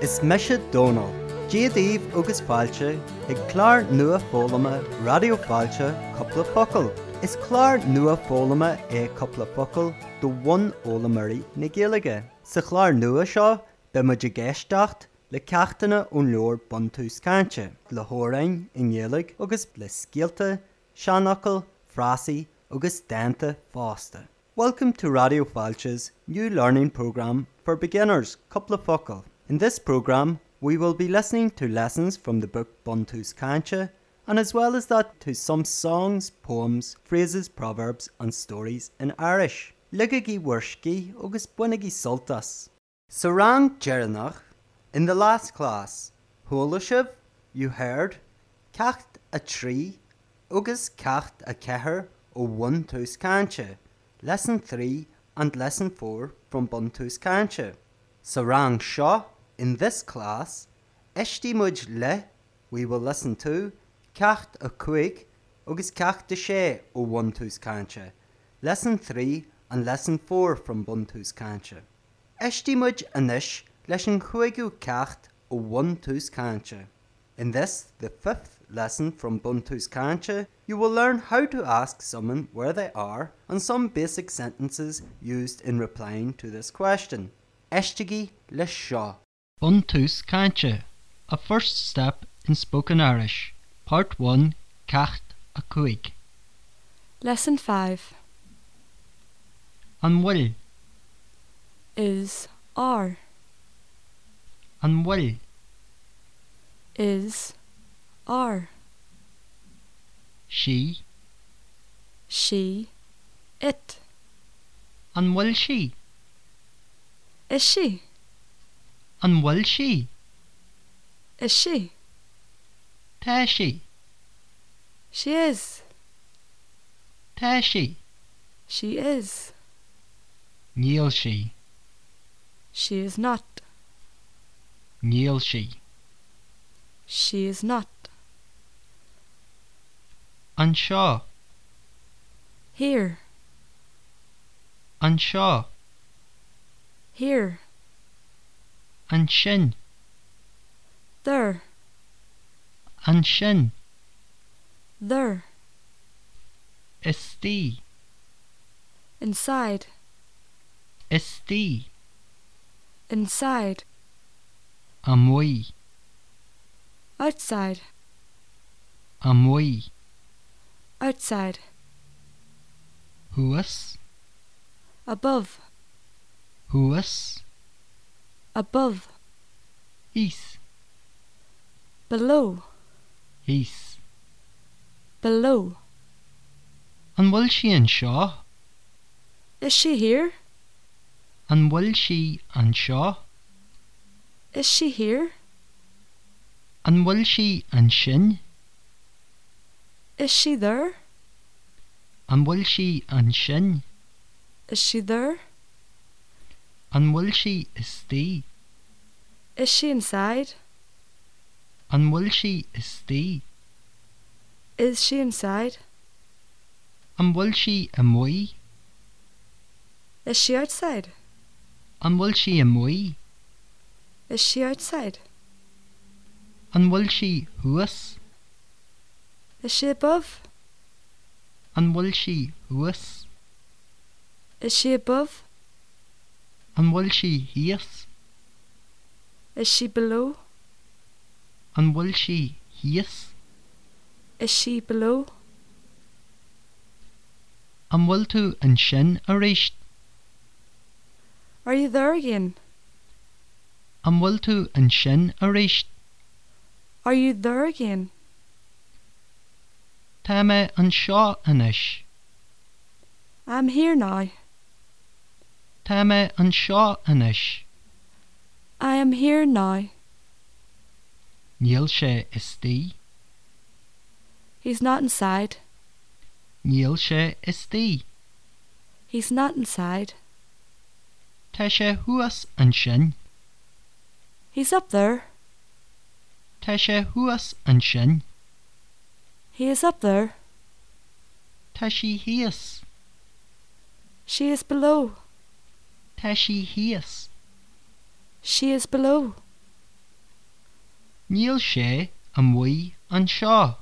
Is meise dóná, Géadíomh agus fáilte ag chláir nua fólama radioáilte coppla focail. Is chláir nua fólama é coppla focail do bhain ólamarí na ggéalaige. Sa chláir nua seo be mu de ggéistecht le ceachtainna ón leor banú scainte, le hórain in ggéalaigh agus le scialta, seanachil, frásaí agus dananta fásta. Welcome to Radio Falch's new learning program for beginners, Couple of Focal. In this program, we will be listening to lessons from the book Bantu's Kancha, and as well as that, to some songs, poems, phrases, proverbs, and stories in Irish. Ligagi Wershki Ogus Bunigi Sultas. Sarang Jeranach, in the last class, Holishiv, you heard, Kacht a tree, Ogus Kacht a keher, O one tus kancha. Lesson 3 and Lesson 4 from Bantu's Kancha. Sarang Shah, in this class, Ishti Muj Le, we will listen to Cacht a Cuig, Ugus Cacht de She o Bantu's Kancha. Lesson 3 and Lesson 4 from Bantu's Kancha. Ishti Muj Anish, Lesson Cuigu Cacht o Bantu's Kancha. In this, the fifth lesson from Buntu's Kancha, you will learn how to ask someone where they are and some basic sentences used in replying to this question. Eshtigi Lishaw. Buntu's Kancha, a first step in spoken Irish. Part 1 Cacht a Cuig. Lesson 5 An will, is are an will, is are she, she it an will she, is she an will she, is she te she, she is te she, she is kneel she, she is not kneel she, she is not an shaw, here an shaw, here an shin, there an shin, there esti, inside esti, inside amoi, outside amoi, outside huas, above huas, above is, below is. below An will she an shaw, is she here an will she an shaw, is she here an will she an shin, is she there an will she an shin, is she there an will she esti, is she inside an will she esti, is she inside an will she amoi, is she outside an will she amoi, Is she outside? an will she huas, Is she above? an will she huas, Is she above? an will she hias, Is she below? an will she hias, Is she below? an will to an shin arisht, Are you there again? an will to an shin arisht, Are you there again? tame an shaw anish, I'm here now. tame an shaw anish, I am here now. Níl sé istí, He's not inside. níl sé istí, He's not inside. Tá sé thuas an sin, He's up there. Tá sé thuas an sin, He is up there. Tá si hías, She is below. Tá si hías, She is below. Níl sé a mui an seo.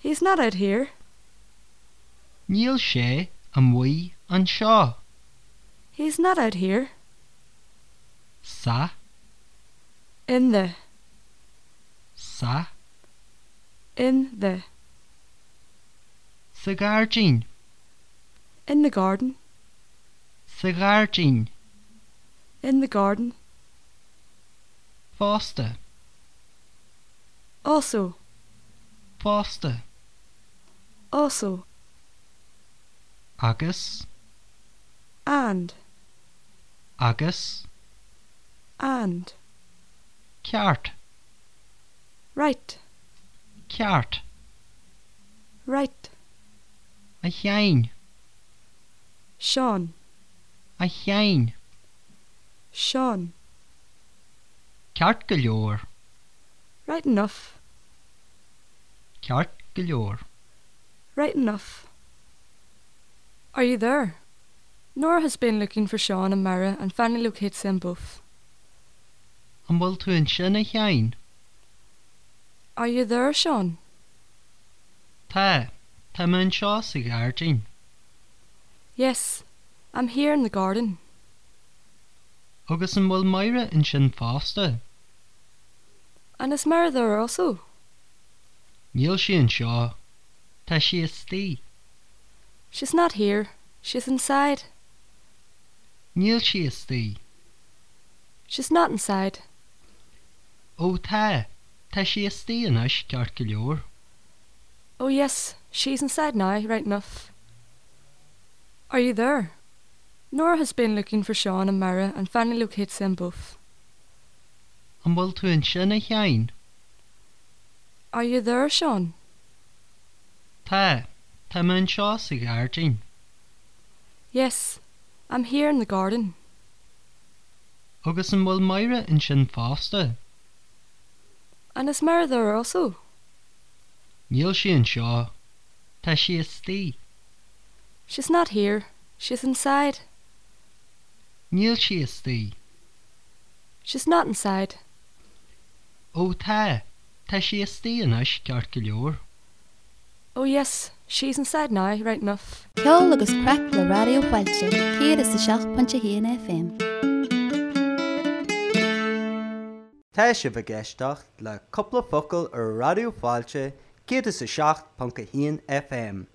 He's not out here. Níl sé a mui an seo. He's not out here. Sa In the. sa In the. sa gardín In the garden. sa gardín In the garden. fásta Also. fásta Also. agus And. agus And. ceart Right. ceart Right. a chein Sean. a chein Sean. ceart go leor Right enough. ceart go leor Right enough. Are you there? Nora has been looking for Sean and Mara and finally locates them both. an bhfuil tú an sin a chein Are you there, Sean? tá tá man seo sa gardín Yes. I'm here in the garden. agus an bhfuil maire an sin fásta And is Mara there also? níl si an seo Tá si is tí She's not here. She's inside. níl si is tí She's not inside. ó tá Tá si is tí inis ceart go leor Oh, yes. She's inside now, right enough. Are you there? Nora has been looking for Sean and Mara and finally locates them both. an bhfuil tú an sin a chein Are you there, Sean? Tá Tá man seo sa gardín Yes. I'm here in the garden. agus an bhfuil maire an sin fásta And is Mara there also? níl si an seo Tá si is tí She's not here. She's inside. níl si is tí She's not inside. ó tá Tá si is tí inis ceart go leor Oh, yes. She's inside now, right enough. Ceol agus crack le radiohailte, hir is sa seach pontse héana FM. Tá se bh geisteach le coppla focail ar radioáilte cé is sa seach panca híon FM.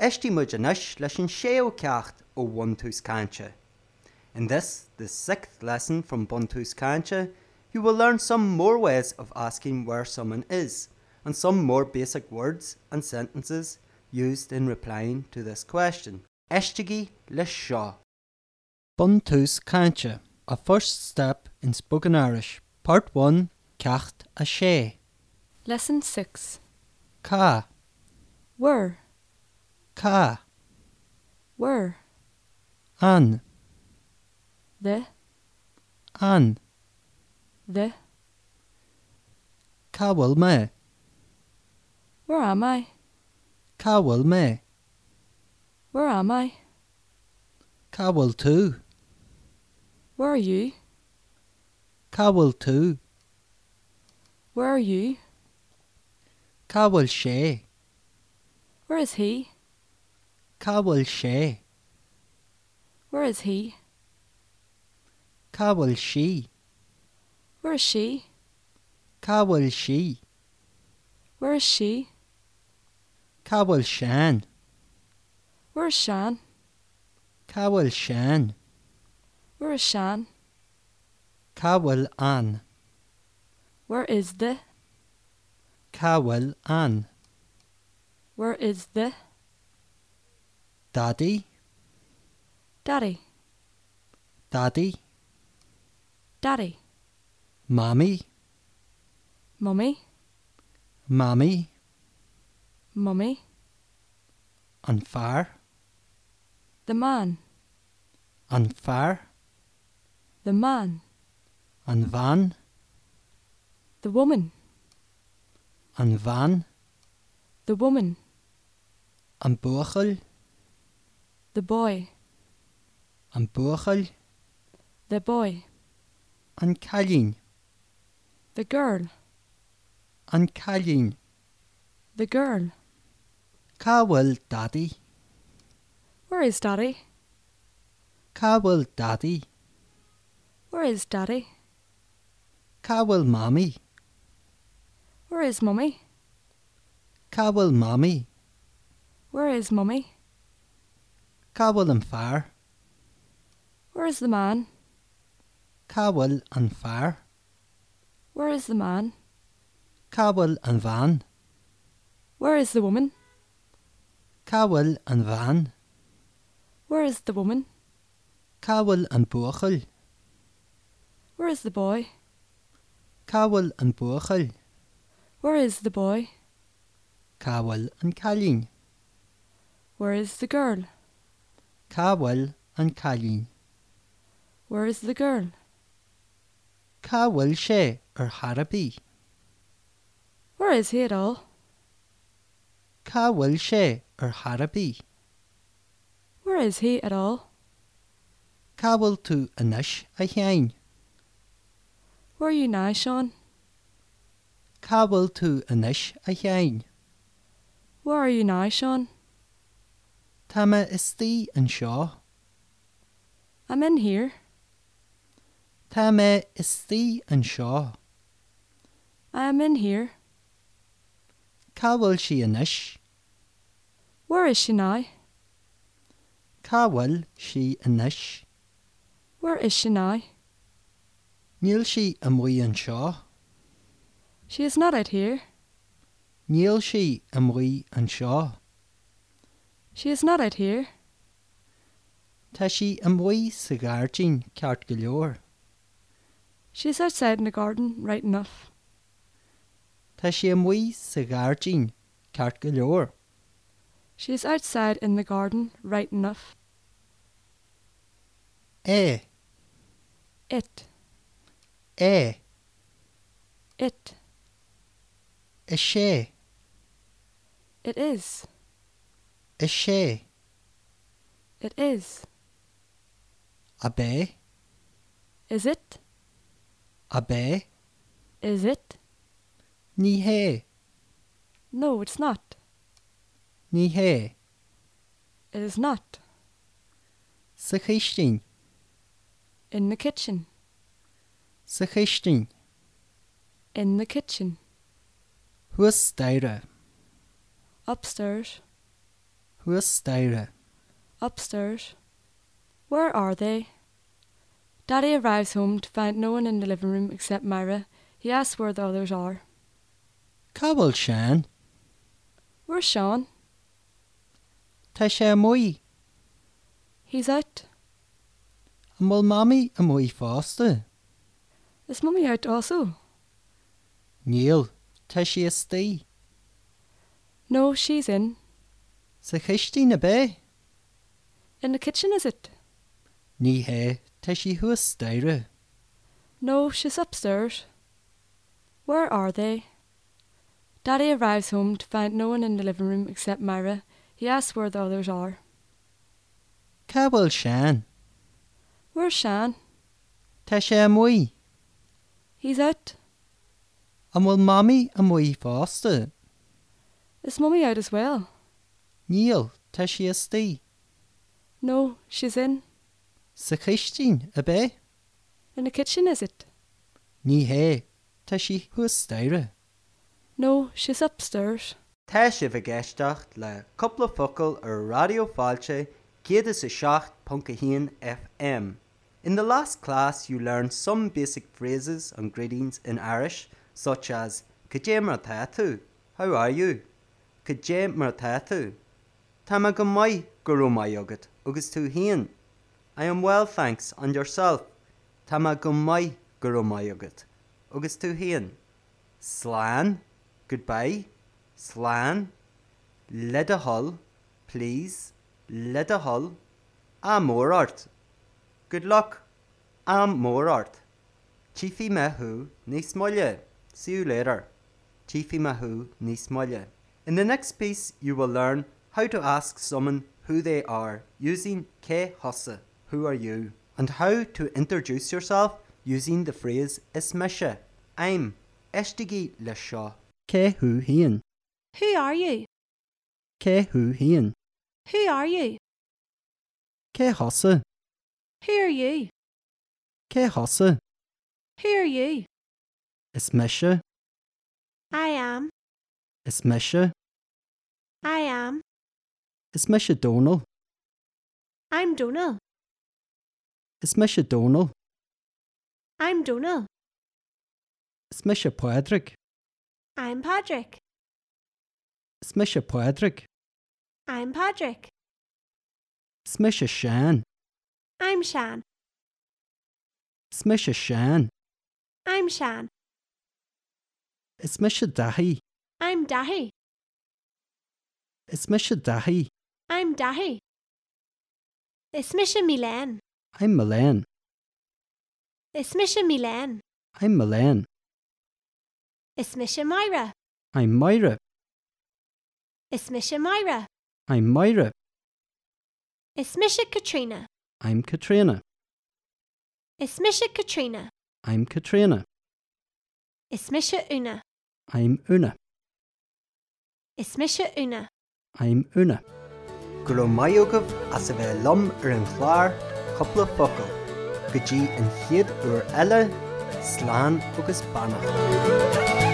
Etí mu anis leis an séo ceacht ó Bonús Cancha. In this, the sixth lesson from Bonús Cancha, you will learn some more ways of asking where someone is and some more basic words and sentences used in replying to this question. Eistegí le seo. Buntus Cancha, a first step in spoken Irish, part 1, Cacht a She, Lesson 6. Ka, Where? Ka, Where? An, The? An, The? Kawal me, Where am I? Kawal me, Where am I? Kawal tu, Where are you? Kawal tu, Where are you? Kawal she, Where is he? Kawal she, Where is he? Kawal she, Where is she? Kawal she, Where is she? Kawal shan, Where is Shan? Kawal shan, Where is Shan? Kawal an, Where is the? Kawal an, Where is the? Daddy, Daddy. Daddy, Daddy. Mommy, Mummy. Mommy, Mummy. an far, The man. an far, The man. an van, The woman. an van, The woman. an bochel, The boy. an bochel, The boy. an callin, The The girl. An Cailín, The girl. Cáhfuil daddy, Where is daddy? Cáhfuil daddy, Where is daddy? Cáhfuil mammy, Where is mummy? Cáhfuil mammy, Where is mummy? Cáhfuil an fear, Where is the man? Cáhfuil an fear, Where is the man? Cáhfuil an bhain, Where is the woman? Cáhfuil an bhain, Where is the woman? Cáhfuil an buchail, Where is the boy? Cáhfuil an buchail, Where is the boy? Cáhfuil an Cailín, Where is the girl? Cáhfuil an Cailín, Where is the girl? Cáhfuil sé ar Harbí, Where is he at all? Cáhfuil sé ar Harbí, Where is he at all? Cáhfuil tú inis a chein, Where are you now, Sean? Cáhfuil tú inis a chein. Where are you now, Sean? Tá me is tí an seo, I'm in here. Tá me is tí an seo, I am in here. Cáhfuil si inis, Where is she now? Cáhfuil si inis, Where is she now? Níl si a mí an seo, She is not out here. Níl si a mí an seo, She is not out here. Tá si a mí sa gáirtín ceart go leor, She is outside in the garden, right enough. Tá si a mí sa gáirtín ceart go leor, She is outside in the garden, right enough. é, It, é, it, i sé, it is, i sé, it is. a bé, Is it? a bé, Is it? ní hé, No, it's not. ní hé, It is not. sa chiistín, In the kitchen. sa chiistín, In the kitchen. Hua steire, Upstairs. hua steire, Upstairs. Where are they? Daddy arrives home to find no one in the living room except Myra. He asks where the others are. Cabal sean, Where's Sean? Tá sé mui, He's out. mul mami a mui fásta, Is Mummy out also? Níl, Tá sé is tí, No, she's in. sa chistí na bé, In the kitchen, is it? ní hé, Tá sé hua steire, No, she's upstairs. Where are they? Daddy arrives home to find no one in the living room except Myra. He asks where the others are. Cabal sean, Where's Shan? Tá sé mui, He's out. a mul mami a mui fásta, Is Mummy out as well? Níl, Tá sé is tí, No, she's in. sa chistín a bé, In the kitchen, is it? ní hé, Tá sé hua steire. No, she's upstairs. Tá si bh geistecht le coppla focail ar radioáilte céad is seach Pcahíon FM. In the last class, you learned some basic phrases and greetings in Irish, such as "Kajemar tatu," "How are you?" "Kajemar tatu," "Tama go mai guru mai yogat," "Ugus tu hien," "I am well, thanks," and yourself, "Tama go mai guru mai yogat," "Ugus tu hien." Slan, goodbye. Slan, Ledahull, please. Ledahull, Amorart. Good luck. Amorart. Chiefy Mahu, Nismolle. See you later. Chiefy Mahu, Nismolle. In the next piece, you will learn how to ask someone who they are using Ke Hosse, who are you, and how to introduce yourself using the phrase Ismische, I'm. Eisteigi le seo. Céthú híon, Who are you? céthú híon, Who are you? cé hosa, Who are you? cé hosa, Who are you? is meise, I am. is meise, I am. is meise Donal, I'm Donal. is meise Donal, I'm Donal. is meise Padraig, I'm Patrick. is meise Padraig, I'm Patrick. is meise Seán, I'm Shan. is meise Seán, I'm Shan. is meise dahí, I'm Dahi. is meise dahí, I'm Dahi. It's Misha Milan. I'm Milén, It's Misha Milan. I'm Milén, It's Misha Myra. I'm Myra, It's Misha Myra. I'm Myra, It's Misha Katrina. I'm Katrina, It's Misha Katrina. I'm Katrina, It's Misha Una. I'm Una, It's Misha Una. I'm Una. Gro maiogah as a bheith lom ar an chláir coppla focail, go dtí an chiad uair eile, sláán agus bannach.